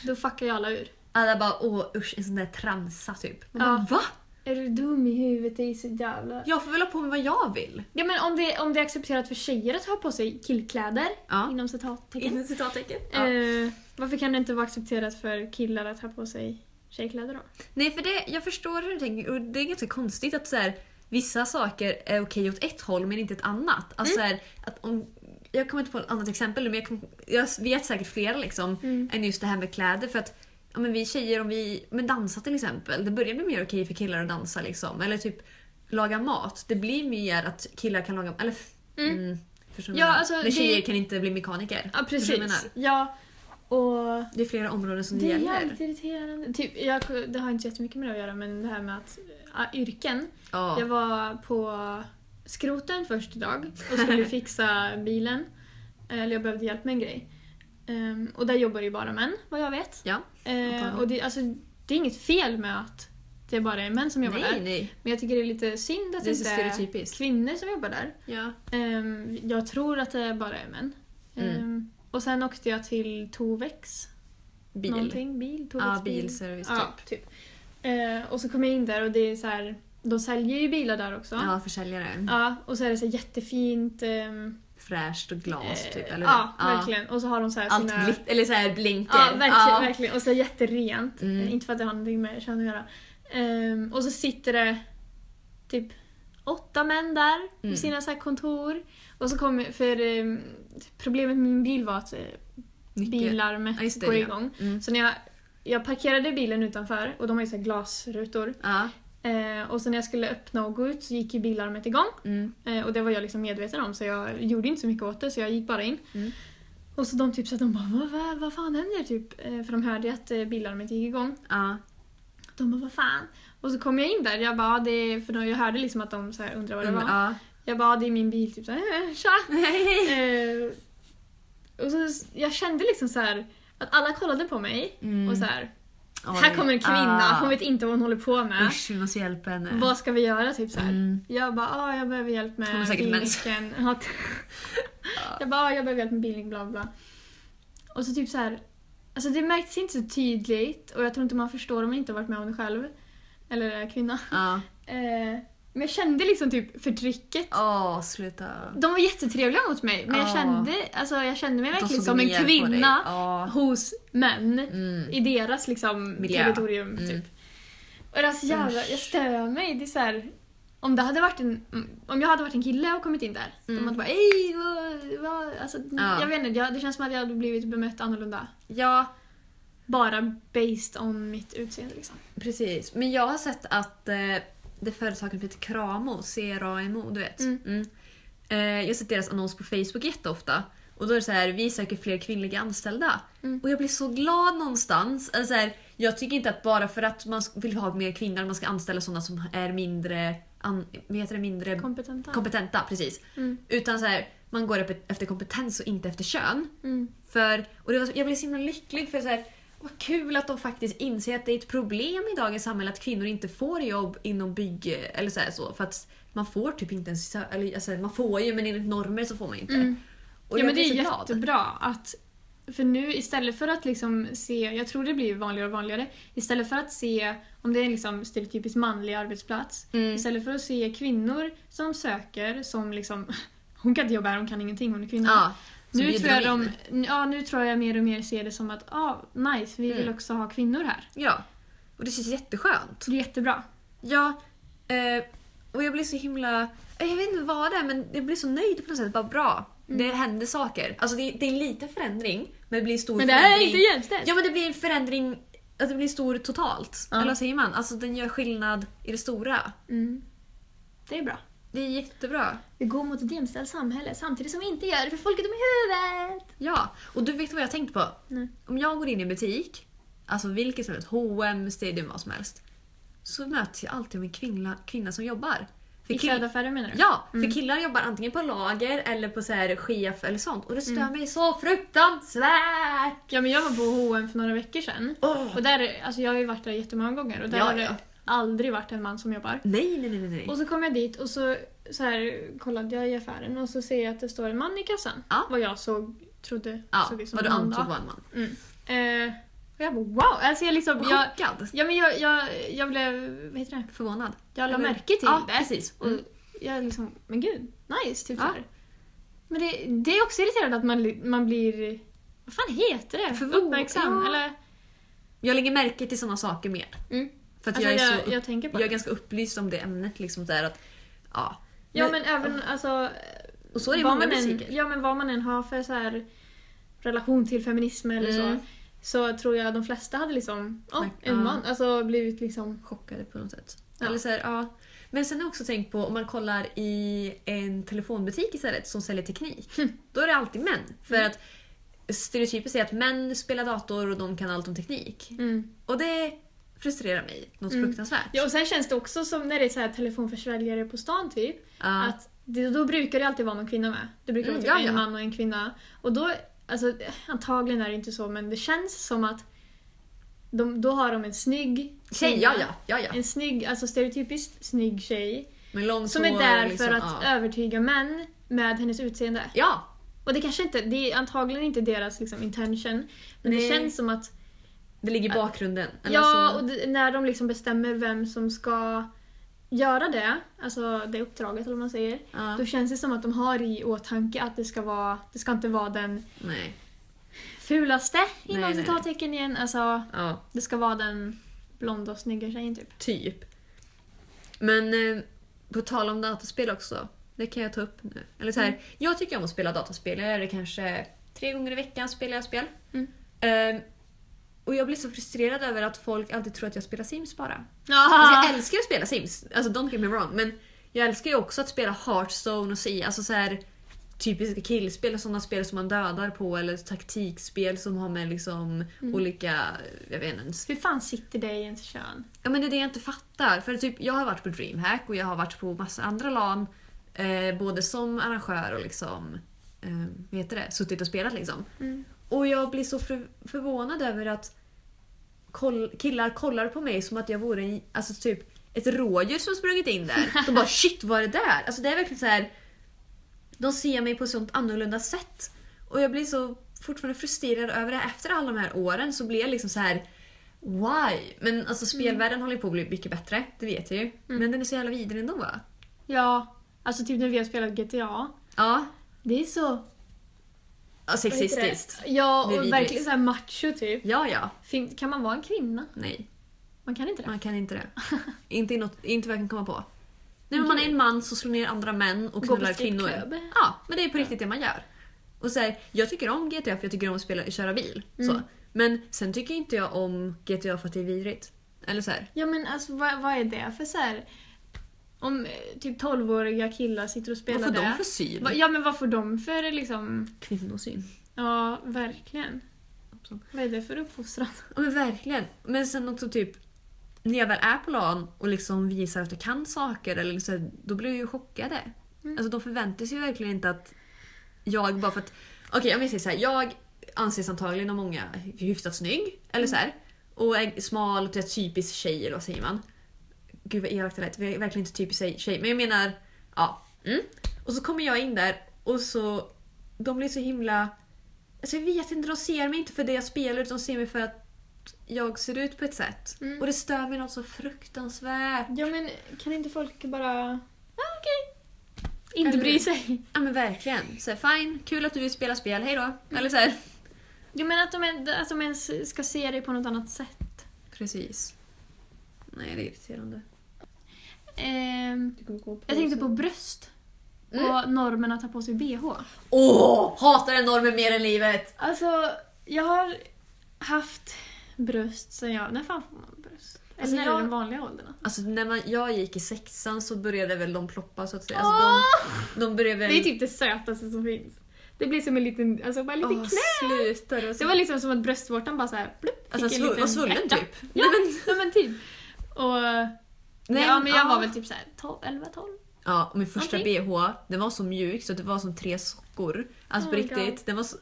då fuckar ju alla ur.
Alla bara åh usch, en sån där transa typ. Man
Ja.
bara, va?
Är du dum i huvudet? Det är så jävla...
Jag får väl ha på mig vad jag vill.
Ja men om det, om det är accepterat för tjejer att ha på sig killkläder,
Ja.
inom citattecken.
Inom citattecken. Ja.
Eh, varför kan det inte vara accepterat för killar att ha på sig tjejkläder då?
Nej för det, jag förstår hur du tänker och det är ganska konstigt att så här, vissa saker är okej åt ett håll men inte ett annat.
Mm.
Alltså, så här, att om, jag kommer inte på ett annat exempel nu men jag, kom, jag vet säkert flera liksom
Mm.
än just det här med kläder. För att ja, men vi tjejer, om vi men dansa till exempel, det börjar bli mer okej för killar att dansa. Liksom. Eller typ laga mat, det blir mer att killar kan laga Eller,
Mm.
mm, förstår du
Ja,
vad jag menar?
alltså,
men
det-
tjejer kan inte bli mekaniker.
Ja
Förstår du vad jag
precis.
menar?
Ja, och
Det är flera områden som det,
det är
gäller.
jävligt irriterande. Typ, jag, det har inte så jättemycket med det att göra men det här med att ja, yrken.
Ja.
Jag var på skroten först idag och
[laughs]
skulle fixa bilen. Eller jag behövde hjälp med en grej. Ehm, och där jobbar ju bara män vad jag vet.
ja.
Eh, och det, alltså, det är inget fel med att det bara är män som jobbar
Nej,
där.
nej.
Men jag tycker det är lite synd att
Det är
det
så
inte är
stereotypiskt.
kvinnor som jobbar där.
Ja.
Ehm, jag tror att det bara är män.
Mm.
Ehm, och sen åkte jag till Tovex.
Bil.
Någonting. Bil? Tovex
Ja, bilservice
Ja,
typ.
typ. Eh, och så kom jag in där och det är så här, de säljer ju bilar där också.
Ja, försäljare.
Ja, och så är det så här jättefint. ehm,
Fräscht och glas typ,
eh,
eller
Ja, verkligen. Och så har de så här
Allt
sina...
glitt, eller så här blinker.
Ja, verkligen.
Ja.
verkligen. Och så jätterent.
Mm.
Eh, Inte för att det har någonting med kön att göra. Ehm, och så sitter det typ åtta män där på
Mm.
sina så här kontor. Och så kommer, för ehm, problemet med min bil var att eh,
Nyckel. Ja,
billarmet
just det,
går
ja.
igång.
Mm.
Så när jag, jag parkerade bilen utanför och de har ju så här glasrutor.
Ja.
Eh, och så när jag skulle öppna och gå ut så gick ju bilarmet igång.
Mm.
Eh, och det var jag liksom medveten om så jag gjorde inte så mycket åt det så jag gick bara in.
Mm.
Och så de typ så att de bara vad, vad, vad fan händer typ? Eh, för de hörde ju att eh, bilarmet gick igång.
Ja.
De bara vad fan? Och så kom jag in där, jag bara "Ja, det är, för de, jag hörde liksom att de så här undrade vad det
Mm,
var.
ja.
Jag bara "Ja, det är min bil typ så här, tja!
[laughs]
Eh, och så jag kände liksom så här att alla kollade på mig
Mm.
och så här
Ja,
här
det-
kommer en kvinna,
Ah.
hon vet inte vad hon håller på med.
Usch, vi måste hjälpa henne.
Vad ska vi göra? Typ så här.
Mm.
Jag bara, ah, jag behöver hjälp
Hon har
med [laughs]
säkert mens.
bilnyckeln. Ja. jag bara, ah, jag behöver hjälp med bilnyckeln, bla bla. Och så typ så här, alltså det märks inte så tydligt och jag tror inte man förstår om man inte har varit med om det själv. Eller är kvinna.
Ja.
Eh, men jag kände liksom typ förtrycket.
Åh, sluta.
De var jättetrevliga mot mig men jag
Ja.
kände, alltså, jag kände mig
De
verkligen
såg
som
ner
en
på dig.
kvinna
Ja.
hos män.
Mm.
I deras liksom
Miljö.
territorium
Mm.
typ. Och alltså jävlar, jag stör mig. Det är så här, om, det hade varit en, om jag hade varit en kille och kommit in där, de
Mm.
hade bara ej, vad, vad? Alltså,
Ja.
Jag vet inte, jag, det känns som att jag hade blivit bemött annorlunda.
Ja,
Bara based on mitt utseende liksom.
precis. Men jag har sett att eh, det företaget heter Kramo, C-R-A-M-O, du vet.
Mm.
Eh, jag har sett deras annons på Facebook jätteofta. Och då är det så här, vi söker fler kvinnliga anställda.
Mm.
Och jag blir så glad någonstans. Alltså så här, jag tycker inte att bara för att man vill ha mer kvinnor, man ska anställa sådana som är mindre, an, vad heter det, mindre
Kompetenta.
kompetenta. Precis.
Mm.
Utan så här, man går upp efter kompetens och inte efter kön.
Mm.
För, och det var, jag blev så himla lycklig för så här, vad kul att de faktiskt inser att det är ett problem i dagens samhälle att kvinnor inte får jobb inom bygg eller så här, så för att man får typ inte ens sö- eller, alltså, man får ju men enligt normer så får man inte.
Mm. ja
Och jag
men det
blev
är
så glad.
jättebra att för nu istället för att liksom se, jag tror det blir vanligare och vanligare, istället för att se om det är en liksom stereotypiskt manlig arbetsplats,
Mm.
istället för att se kvinnor som söker som liksom [laughs] hon kan inte jobba här, hon kan ingenting, hon är kvinna.
Ja, så
nu,
bjuder
tror jag
de
de,
in.
ja, nu tror jag mer och mer ser det som att ah, nice, vi vill
Mm.
också ha kvinnor här.
Ja. Och det känns jätteskönt.
Så det är jättebra.
Ja, eh, och jag blir så himla... eh, Jag vet inte vad det är men jag blir så nöjd på något sätt. Bara bra.
Mm.
Det händer saker. Alltså det, det är en liten förändring men det blir en stor
Men det
förändring.
är inte jämställt.
Ja men det blir en förändring, att det blir stor totalt.
Ja.
Eller vad säger man? Alltså den gör skillnad i det stora.
Mm. Det är bra.
Det är jättebra.
Vi går mot ett jämställt samhälle samtidigt som vi inte gör det för folk är dumma i huvudet.
Ja, och du vet vad jag tänkte på?
Nej.
Om jag går in i en butik, alltså vilket som helst, H&M, Stadium, vad som helst. Så möts jag alltid med en kvinna, kvinna som jobbar.
I
För
Mm.
kill-
klädaffärer menar du?
Ja, för killar jobbar antingen på lager eller på så här chef eller sånt. Och det
Mm.
stör mig så fruktansvärt!
Ja men jag var på H&M för några veckor sedan.
Åh.
Och där, alltså jag har ju varit där jättemånga gånger och där
Ja,
har det
ja.
aldrig varit en man som jobbar.
Nej, nej, nej, nej, nej.
Och så kom jag dit och så, så här, kollade jag i affären och så ser jag att det står en man i kassan.
Ja.
Vad jag såg, trodde
Ja,
såg ut som
vad du
en man.
antog
Ja.
var en man.
Mm. Eh, och jag bara wow! Alltså jag liksom, jag,
Chockad.
ja, men jag, jag, jag blev, vad heter det?
Förvånad.
Jag la
Eller-
märke till
ja,
det.
precis. Mm.
Och jag liksom, men gud, nice! Typ
Ja.
så här. Men det, det är också irriterande att man, li- man blir, vad fan heter det?
Förvå-
Uppmärksam?
ja.
Eller?
Jag lägger märke till sådana saker mer.
Mm.
För att
Alltså,
jag, är
jag,
så upp,
jag tänker på
jag är
det.
ganska upplyst om det ämnet. Liksom, så här att, ja.
Ja men även alltså...
och så är det i
vad
många
man än,
butiker.
ja, men vad man än har för så här, relation till feminism eller
Mm.
så. Så tror jag de flesta hade liksom, oh,
Tack.
en
Ja.
man. Alltså blivit liksom...
Chockade på något sätt.
Ja.
Eller så här, ja. Men sen har jag också tänkt på om man kollar i en telefonbutik istället som säljer teknik.
Hm.
Då är det alltid män. För
Mm.
att stereotypiskt är att män spelar dator och de kan allt om teknik.
Mm.
Och det frustrerar mig något
Mm.
fruktansvärt.
Ja, och sen känns det också som när det är så här telefonförsäljare på stan typ.
Ja.
Att det, då brukar det alltid vara någon kvinna med. Det brukar
Mm,
vara typ
ja, ja.
en man och en kvinna. Och då, alltså, antagligen är det inte så men det känns som att de, då har de en snygg
Tjej, ja, ja, ja, ja.
En snygg, alltså stereotypiskt snygg tjej.
Med långt
Som
hår,
är där
liksom,
för att
ja.
övertyga män med hennes utseende.
ja,
Och det kanske inte, det är antagligen inte deras liksom, intention. Men
Nej. alltså-
det känns som att,
det ligger i bakgrunden. Eller
ja,
så-
och det, när de liksom bestämmer vem som ska göra det, alltså det uppdraget eller vad man säger.
ja.
Då känns det som att de har i åtanke att det ska vara, det ska inte vara den
Nej.
fulaste inom
nej, nej.
citattecken igen. Alltså,
Ja,
det ska vara den blonda och snygga tjejen typ.
typ. Men eh, på tal om dataspel också. Det kan jag ta upp nu. Eller så här,
Mm.
Jag tycker om att spela dataspel. Jag gör det kanske tre gånger i veckan. spelar jag spel.
Mm.
Ehm, och jag blir så frustrerad över att folk alltid tror att jag spelar Sims bara. Alltså,
Ah,
jag älskar att spela Sims, alltså don't get me wrong. Men jag älskar ju också att spela Hearthstone och Sea. Alltså så här typiska killspel och sådana spel som man dödar på eller taktikspel som har med liksom olika, jag vet inte, ens
hur fan sitter det i ens kön?
Ja men det är det jag inte fattar. För typ, jag har varit på DreamHack och jag har varit på massa andra LAN. Eh, både som arrangör och liksom, eh, vad heter det, suttit och spelat liksom.
Mm.
Och jag blir så för, förvånad över att koll, killar kollar på mig som att jag vore en, alltså typ ett rådjur som sprungit in där. De bara shit vad är det där? Alltså det är verkligen så här. De ser mig på ett sånt annorlunda sätt. Och jag blir så fortfarande frustrerad över det. Efter alla de här åren så blir jag liksom så här why? Men alltså
Mm.
spelvärlden håller ju på att bli mycket bättre, det vet jag ju. Men den är så jävla vidrig ändå va?
Ja, alltså typ när vi har spelat GTA.
Ja.
Det är så...
ja
vad heter det?
sexistiskt.
Ja,
Det är
och
vidrigt.
verkligen så här macho typ.
Ja, ja.
Fin- kan man vara en kvinna?
Nej,
Man kan inte det.
man kan
[laughs]
inte det. inte, i något, inte vad jag kan komma på. Nej, men man är en man som slår ner andra män och
Gå på
knullar kvinnor.
strippklubb.
Ja, men det är på riktigt det man gör. Och så här, jag tycker om GTA för jag tycker om att spela, köra bil.
Mm.
Så. Men sen tycker inte jag om GTA för att det är vidrigt. Eller så här.
Ja men alltså vad, vad är det för så här... Om eh, typ 12-åriga killar sitter och spelar
Vad får
det.
de för syn?
Va- Ja men vad får de för liksom...
Kvinnosyn.
Ja, verkligen.
Absolut.
Vad är det för uppfostran?
Ja, Men verkligen. Men sen också typ när jag väl är på LAN och liksom visar att jag kan saker, eller så här, då blir jag ju chockade. Alltså de förväntar sig ju verkligen inte att jag bara för att... Okej om vi säger så här, jag anses antagligen av många hyfsat snygg. Eller så här, och är smal och typ typisk tjej eller vad säger man? Gud vad elakt det lät. Jag är verkligen inte typisk tjej- tjej. Men jag menar, ja. Mm. Och så kommer jag in där och så... De blir så himla... Alltså jag vet inte, de ser mig inte för det jag spelar utan de ser mig för att jag ser ut på ett sätt.
Mm.
Och det stör mig något så fruktansvärt.
Ja men kan inte folk bara... Ja okej. Inte
Eller-
bry sig.
Ja men verkligen. Så här, fine, kul att du vill spela spel, hej då. Eller så här.
Jo men att de, en- att de ens ska se dig på något annat sätt.
Precis. Nej det är irriterande.
Ehm, jag tänkte på bröst. Och normen att ta på sig bh.
Åh! hatar den normen mer än livet!
Alltså, jag har haft bröst sen jag... När fan får man bröst? Eller
Alltså,
när är
jag-
den vanliga åldern?
Alltså när man, jag gick i sexan så började väl de ploppa så att säga. Alltså, de, de började väl...
Det är typ det sötaste som finns. Det blir som en liten... Alltså bara lite
Åh,
knä.
sluta, det var, så...
Det var liksom som att bröstvårtan bara såhär...
alltså, svull, var svullen typ.
Ja, ja men typ. Och,
Nej,
ja, men jag
ja.
var väl typ såhär 12, 11, 12.
Ja, och min första
Okej.
bh, den var så mjuk så att det var som tre sockor. Alltså på
Oh my
riktigt.
God.
Den var så...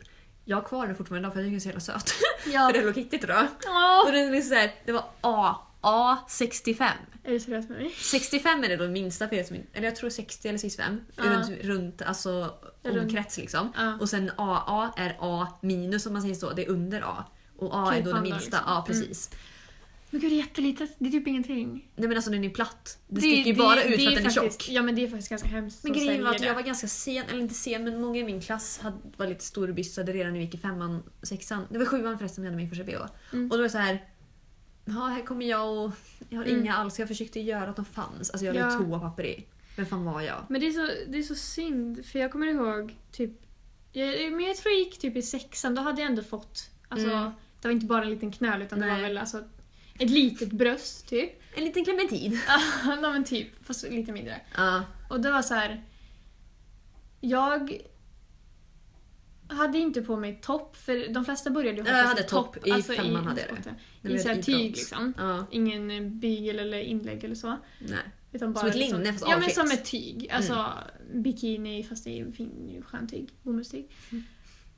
Jag har kvar den fortfarande idag för jag tycker [laughs] den är så jävla söt.
Ja.
för det är Hello Kitty tror jag. [laughs] Och
Åh!
den är liksom så här, det var A, A65.
Är du seriös med mig?
65 är det då minsta felet som, eller jag tror 60 eller 65.
Ja.
Runt, runt alltså
Runt.
omkrets liksom.
Ja.
Och sen AA är A minus om man säger så, det är under A. Och A är då det
Krypande,
minsta,
liksom.
ja precis.
Men gud det är jättelitet, det är typ ingenting.
Nej men alltså den är platt. Det, sticker ju bara ut för att den är
faktiskt,
tjock.
Ja men det är faktiskt ganska hemskt.
Men
att
grejen var
sälja
att
det.
jag var ganska sen, eller inte sen, men många i min klass hade, var lite storbyssade redan när vi gick i femman, sexan. Det var sjuan förresten jag hade min första bh.
Mm.
Och då var det så här. Ja, här kommer jag och jag har inga alls. Jag försökte göra att de fanns. Alltså jag hade
Mm. Ja.
toapapper i. Men fan var jag?
Men det är, så, det är så synd, för jag kommer ihåg typ... Jag, men jag tror jag gick typ i sexan, då hade jag ändå fått... Alltså,
Mm.
Det var inte bara en liten knöl utan det var
Nej.
väl alltså ett litet bröst typ. [laughs]
En liten clementin.
Ja men typ, fast lite mindre.
Ja.
Och det var så här. Jag hade inte på mig topp, för de flesta började ju
Ja, jag hade topp. I femman hade jag det.
vad heter alltså, I
När vi
så här
hade
tyg
idrotts.
liksom.
Ja.
Ingen eh, bygel eller inlägg eller så.
Nej.
Utan bara
Som ett
liksom-
linne, fast Mm.
Ja men
avklippt.
som ett tyg. Alltså bikini fast det är fin, skönt tyg. Bomullstyg.
Mm.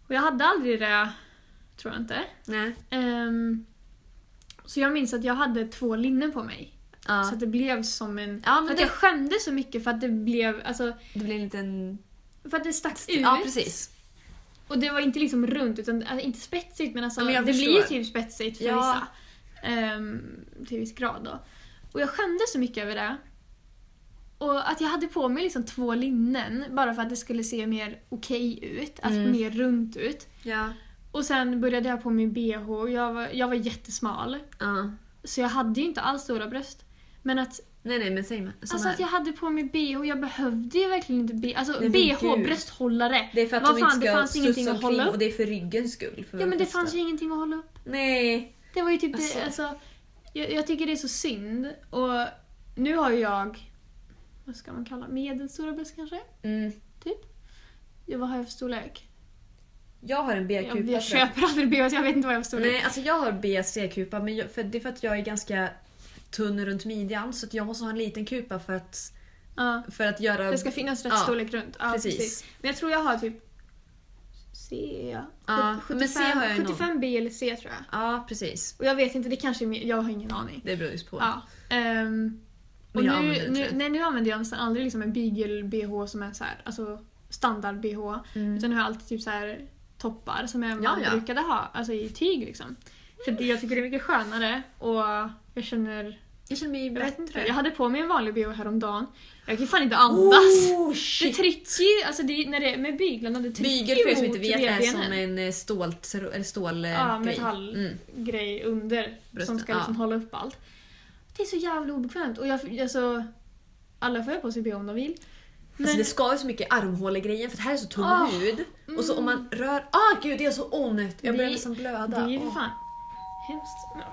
Och jag hade aldrig det, tror jag inte.
Nej.
Ehm, så jag minns att jag hade två linnen på mig. Så
Ja.
att det blev som en...
Ja, men
för att
det-
jag skämdes så mycket för att det blev... Alltså,
Det blir en liten...
för att det stack ut.
Ja precis.
Och det var inte liksom runt, utan alltså, inte spetsigt men alltså
Ja, men jag
det
förstår.
blir ju typ spetsigt för
Ja.
vissa. Ehm, till viss grad då. Och jag skämdes så mycket över det. Och att jag hade på mig liksom två linnen bara för att det skulle se mer okej ut, alltså
Mm.
mer runt ut.
Ja.
Och sen började jag på min bh, och jag var, jag var jättesmal.
ja.
Så jag hade ju inte alls stora bröst. Men att,
Nej nej men säg samma
alltså
här.
att jag hade på mig bh, jag behövde ju verkligen inte bh. Alltså
Nej, men
bh,
gud.
brösthållare.
Det är för att
Vad
de
fan,
inte
det
ska
fanns ingenting
sussa
att hålla
omkring,
upp.
och det är för ryggens skull. För
Ja men det fanns
flesta.
ju ingenting att hålla upp.
Nej.
Det var ju typ
Alltså.
det, alltså, jag, jag tycker det är så synd. Och nu har ju jag, vad ska man kalla medelstora bröst kanske?
Mm.
Ja, vad har jag för storlek?
Jag har en
Jag,
B-kupa.
jag
tror jag.
köper aldrig bh så jag vet inte vad jag har för storlek.
Nej, alltså jag har BC-kupa men jag, för, det är för att jag är ganska tunn runt midjan så att jag måste ha en liten kupa för att,
Ja,
för att göra...
det ska finnas rätt
Ja,
storlek runt. Ja,
precis.
precis. Men jag tror jag har typ C, ja.
Ja,
Sjut-
men C har jag
75,
nog.
75 B eller C tror jag.
Ja, precis.
Och jag vet inte, det kanske är mer, jag har ingen aning.
Det beror just på.
Ja. ehm, och
Men jag
nu,
använder det,
nu,
tror jag.
nej, nu använder jag nästan aldrig liksom en bygel-bh som är så här, alltså standard-bh.
Mm.
Utan jag har alltid typ så här toppar som jag
Ja, ja.
brukade ha alltså i tyg. Liksom. För det, jag tycker det är mycket skönare och jag känner...
Jag känner mig
Jag vet inte.
bättre.
Jag hade på mig en vanlig bh häromdagen. Jag kan fan inte andas.
Oh,
Det
shit.
trycker ju, alltså det, är- när det är med byglarna, det trycker
Bygel för er som inte
mot
vet är
revbenen.
som en eh, stålt, eller stål eh,
Ja,
grej.
metall.
Mm.
grej under
Brösten,
som ska liksom
ja.
hålla upp allt. Det är så jävla obekvämt. Och jag, alltså, alla får ju på sig bh om de vill. Men
Alltså det ska ju så mycket armhålegrejen för det här är så tunn
Ah, Mm.
hud. Och så om man rör... Ah gud det är så onnödigt! Jag börjar
Det-
nästan blöda.
det är ju för
Åh.
fan hemskt.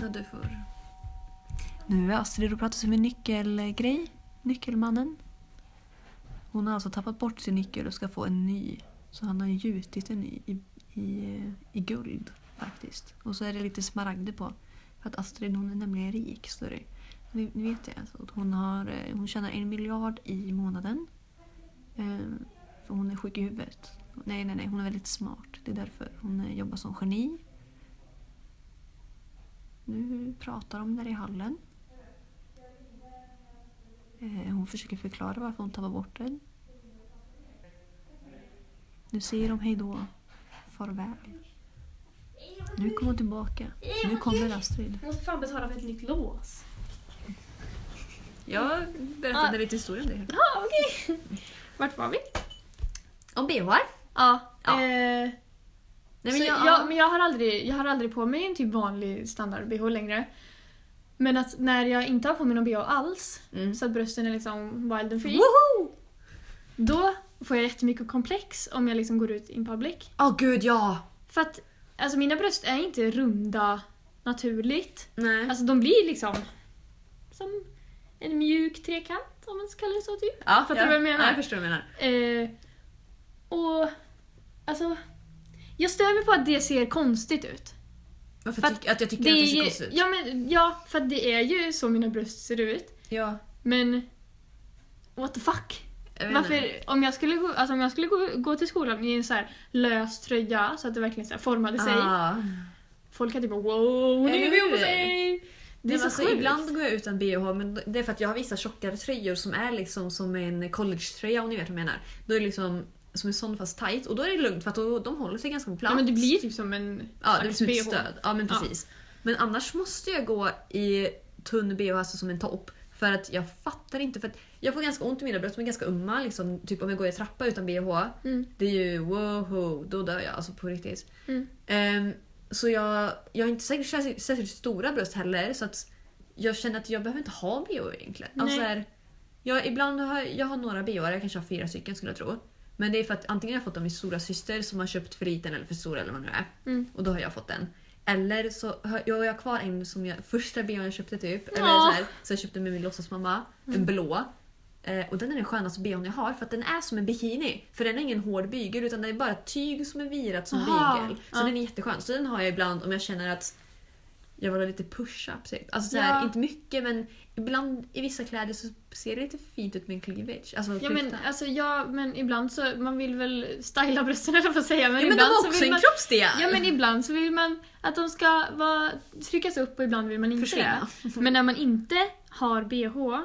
Ja, du får... Nu är Astrid och pratar som en nyckelgrej. Nyckelmannen. Hon har alltså tappat bort sin nyckel och ska få en ny. Så han har gjutit den i, i, i, i guld faktiskt. Och så är det lite smaragder på. För att Astrid hon är nämligen rik. Så det, ni, ni vet det. Så att hon, har, eh, hon tjänar en miljard i månaden. Ehm, för hon är sjuk i huvudet. Nej, nej, nej. Hon är väldigt smart. Det är därför hon eh, jobbar som geni. Nu pratar de där i hallen. Eh, Hon försöker förklara varför hon tappar bort den. Nu säger de hej då. Farväl. Nu kommer hon tillbaka. Nu kommer Astrid.
Jag måste fan betala för ett nytt lås.
Jag
berättade
lite historia om det.
Ja, okej. Vart var vi?
Om bhar?
Ja.
Ja.
Eh,
Nej
så
men jag...
jag, men jag, har aldrig, jag har aldrig på mig en typ vanlig standard-bh längre. Men att när jag inte har på mig någon bh alls,
Mm.
så att brösten är liksom wild and free,
Woho!
då får jag jättemycket komplex om jag liksom går ut in public.
Åh gud ja!
För att alltså, mina bröst är inte runda naturligt.
Nej.
Alltså de blir liksom som en mjuk trekant om man ska kalla det så typ.
Ja,
fattar du vad jag menar?
Ja, jag förstår vad du menar.
Eh, och alltså jag stör mig på att det ser konstigt ut.
Varför
För att
tyck- att jag tycker
Det
att
är
det ser
ju,
konstigt ut?
ja, men, ja, för att det är ju så mina bröst ser ut.
Ja.
Men what the fuck?
jag vet inte.
Varför, om jag skulle, gå, alltså, om jag skulle gå, gå till skolan i en så här lös tröja så att det verkligen så här formade sig.
Ah.
Folk hade bara wow, nu
Eller
är vi på
hur?
sig! Det är
Det är
så
alltså,
sjukt.
ibland går jag utan bh men det är för att jag har vissa tjockare tröjor som är liksom som en collegetröja om ni vet vad jag menar. Då är det liksom som en sån fast tight och då är det lugnt för att då, de håller sig ganska platt.
Ja men det blir typ som en
ja, det blir som ett
BH.
stöd. Ja men
Ja.
precis. Men annars måste jag gå i tunn bh alltså som en topp för att jag fattar inte för att jag får ganska ont i mina bröst, de är ganska ömma liksom. Typ om jag går i en trappa utan bh
Mm.
det är ju woho, då dör jag alltså på riktigt.
Mm.
Ehm, så jag, jag har inte särskilt, särskilt, särskilt stora bröst heller så att jag känner att jag behöver inte ha bh egentligen.
Nej.
Alltså så här, jag, ibland har jag har några bh, jag kanske har fyra stycken skulle jag tro. Men det är för att antingen har jag fått dem i stora syster som har köpt för liten eller för stor eller vad det nu är.
Mm.
Och då har jag fått den. Eller så har jag, jag har kvar en som jag, första bhn jag köpte typ. Eller
Ja. Mm.
så, här, så jag köpte med min låtsasmamma. En blå. Eh, och den är den skönaste bhn jag har för att den är som en bikini. För den är ingen hård bygel utan det är bara tyg som är virat som
Aha,
bygel. Så
ja.
den är jätteskön. Så den har jag ibland om jag känner att jag vill ha lite push-ups. Alltså så här,
Ja.
inte mycket men ibland i vissa kläder så ser det lite fint ut med en cleavage. Alltså
Ja men,
klyfta.
alltså, ja men ibland så, man vill väl styla brösten eller vad säga men,
Ja, men de
ibland
har
så
också
vill
en
man,
kroppsdel!
Ja men ibland så vill man att de ska vara, tryckas upp och ibland vill man inte
Försvinna.
det. Men när man inte har bh,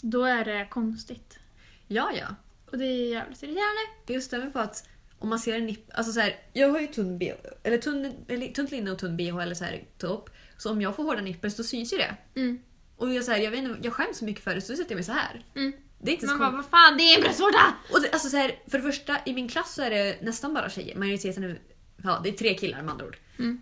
då är det konstigt.
ja, ja.
Och det är jävligt irriterande.
Det stämmer på att om man ser en nipp... Alltså så här, jag har ju tunn bh, eller tunn, eller tunt linne och tunn bh eller så här topp. Så om jag får hårda nippers då syns ju det.
Mm.
Och jag, så här, jag, vet inte, jag skäms så mycket för det så då sätter jag mig så här.
Mm.
Det är inte så
Man bara,
konstigt.
vad fan det är en bröstvårta!
Och det, alltså så här, för det första, i min klass så är det nästan bara tjejer. Majoriteten är, ja, det är tre killar med andra ord.
Mm.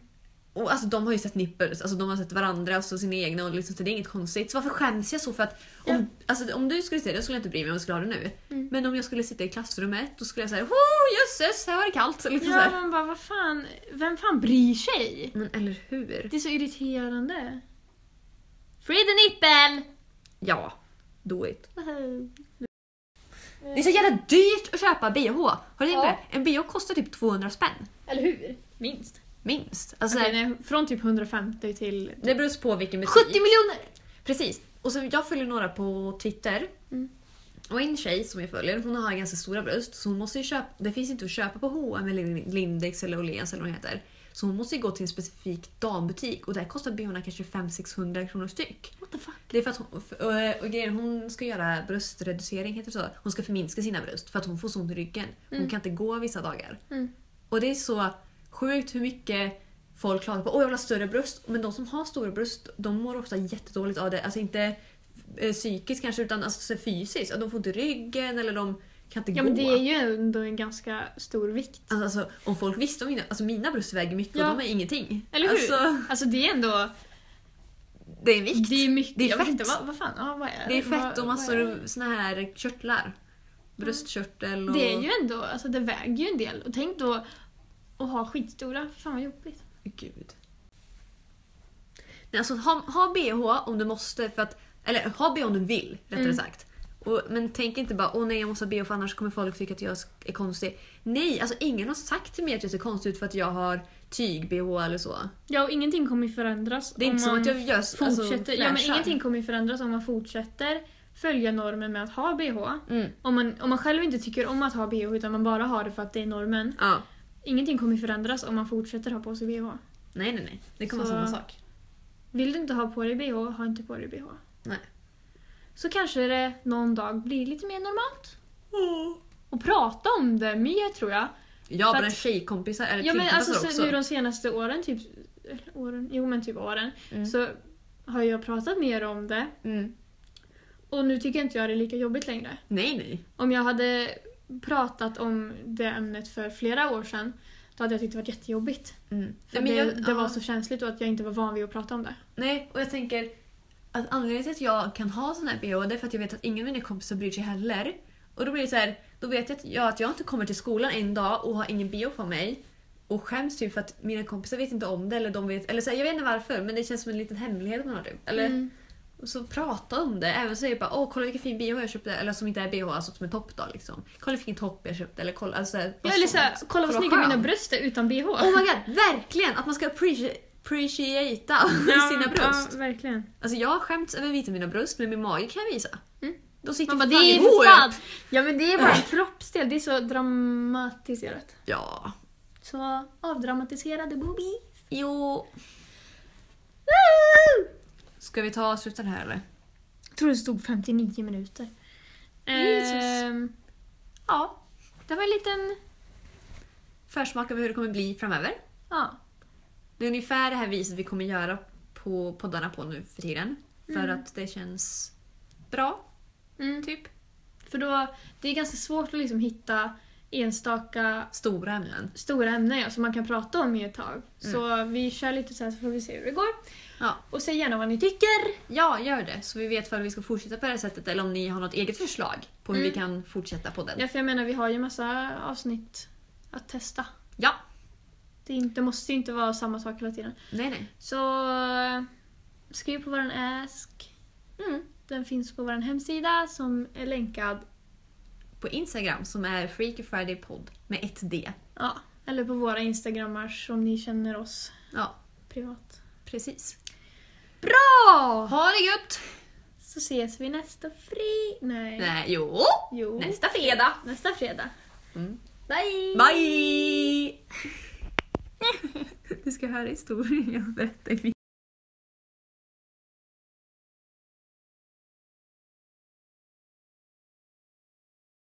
Och alltså, de har ju sett nippers, alltså, de har sett varandra och alltså, sina egna och liksom, så det är inget konstigt. Så varför skäms jag så för att om, alltså, om du skulle se det då skulle jag inte bry mig om jag skulle ha det nu.
Mm.
Men om jag skulle sitta i klassrummet då skulle jag säga oh, jösses, här var det kallt. Så, liksom, så
Ja
här.
man bara, vad fan, vem fan bryr sig?
Men eller hur?
Det är så irriterande. Free the nipple!
Ja, do it. Det är så jävla dyrt att köpa bh. Har du tänkt på
Ja.
det? En bh kostar typ 200 spänn.
Eller hur? Minst.
Minst. Alltså, så här,
Okej, nej, från typ 150 till
Det beror på vilken butik.
70 miljoner!
Precis. Och så jag följer några på Twitter.
Mm.
Och en tjej som jag följer, hon har ganska stora bröst. Så hon måste ju köpa, det finns inte att köpa på H&M eller Lin- Lindex eller Åhléns eller vad det heter. Så hon måste ju gå till en specifik dambutik och där kostar bhna kanske 500-600 kronor styck.
What the fuck?
Det är för att hon, för- och, och grejen, hon ska göra bröstreducering, heter det så? Hon ska förminska sina bröst för att hon får så ont i ryggen. Hon kan inte gå vissa dagar.
Mm.
Och det är så sjukt hur mycket folk klagar på åh jag vill ha större bröst. Men de som har stora bröst de mår ofta jättedåligt av det. Alltså inte eh, psykiskt kanske utan alltså, så fysiskt. De får ont i ryggen eller de kan inte
Ja
gå.
men det är ju ändå en ganska stor vikt.
Alltså, alltså, om folk visste om mina, alltså mina bröst väger mycket
Ja.
och de är ingenting.
Eller hur?
Alltså,
Alltså det är ändå...
det är vikt.
Det är mycket.
Det är
jag vet
fett.
inte, vad, vad fan? Ja, vad är,
Det är
vad-
fett och
vad är-
massor av såna här körtlar. Bröstkörtel och...
Det är ju ändå, alltså det väger ju en del. Och tänk då att ha skitstora. Fy Fan vad jobbigt.
Gud. Nej, alltså ha, ha bh om du måste, för att, eller ha bh om du vill rättare
Mm.
sagt. Och, men tänk inte bara åh nej jag måste ha bh för annars kommer folk tycka att jag är konstig. Nej, alltså ingen har sagt till mig att jag ser konstig ut för att jag har tyg-bh eller så.
Ja och ingenting kommer ju förändras
Det är inte
om
som
man
att jag gör alltså,
fortsätter. ja, men
flashar.
ingenting kommer ju förändras om man fortsätter följa normen med att ha bh.
Mm.
Om man, om man själv inte tycker om att ha bh utan man bara har det för att det är normen.
Ja.
Ingenting kommer ju förändras om man fortsätter ha på sig bh.
Nej, nej, nej. Det kommer
Så-
vara samma sak.
Vill du inte ha på dig bh, ha inte på dig bh.
Nej.
Så kanske det någon dag blir lite mer normalt. Och prata om det mer tror jag.
Ja,
För
men
att-
tjejkompisar eller
Ja men alltså
killkompisar
så,
också.
nu de senaste åren, typ eller åren, jo men typ åren,
Mm.
så har jag pratat mer om det.
Mm.
Och nu tycker inte jag det är lika jobbigt längre.
Nej, nej.
Om jag hade pratat om det ämnet för flera år sedan, då hade jag tyckt det varit jättejobbigt.
Mm.
För
Nej, men
det,
jag-
det var
ja.
så känsligt och att jag inte var van vid att prata om det.
Nej, och jag tänker att anledningen till att jag kan ha sån här bh det är för att jag vet att ingen av mina kompisar bryr sig heller. Och då blir det så här, då vet jag att jag, att jag inte kommer till skolan en dag och har ingen bh på mig och skäms typ för att mina kompisar vet inte om det eller de vet, eller så här, jag vet inte varför men det känns som en liten hemlighet man har typ. Eller,
Mm.
och så prata om det, även säga bara åh kolla vilken fin bh jag köpte, eller som inte är bh, alltså som en topp då liksom. Kolla vilken topp jag köpte eller kolla, alltså, här,
Ja, eller såhär,
sånt.
kolla vad snygga
skön.
mina bröst är utan bh.
Oh my god, verkligen! Att man ska appreci- appreciata
Ja,
sina bröst.
Ja, verkligen.
Alltså jag har skämts över vita mina bröst, men min mage kan jag visa.
Mm.
De sitter
Man bara,
för
det
fan
är ju
ihop.
för fan. Ja men det är bara en kroppsdel, det är så dramatiserat.
Ja.
Så avdramatiserade boobies.
Jo. Ska vi ta och sluta det här eller?
Jag tror det stod 59 minuter.
Jesus.
Ehm,
Ja.
det var en liten...
Försmak av hur det kommer bli framöver.
Ja.
Det är ungefär det här viset vi kommer göra på poddarna på nu för tiden. För att det känns bra,
Mm.
typ.
För då, det är ganska svårt att liksom hitta enstaka
Stora ämnen.
stora ämnen ja, som man kan prata om i ett tag. Så vi kör lite så här så får vi se hur det går.
Ja.
Och säg gärna vad ni tycker.
ja, gör det. Så vi vet om vi ska fortsätta på det här sättet eller om ni har något eget förslag på hur
Mm.
vi kan fortsätta podden.
Ja, för jag menar vi har ju massa avsnitt att testa.
ja.
Det, är inte, det måste ju inte vara samma sak hela tiden.
Nej, nej.
Så eh, skriv på vår ask.
Mm.
Den finns på vår hemsida som är länkad.
På Instagram som är Freaky Friday Pod med ett D.
Ja, eller på våra instagrammar om ni känner oss
Ja,
privat.
precis.
Bra!
Ha det gött!
Så ses vi nästa fri... Nej.
Nej, jo!
Jo.
Nästa fredag!
Nästa fredag.
Mm.
Bye! [laughs]
[laughs] Bye! Du ska höra historien jag berättar i min-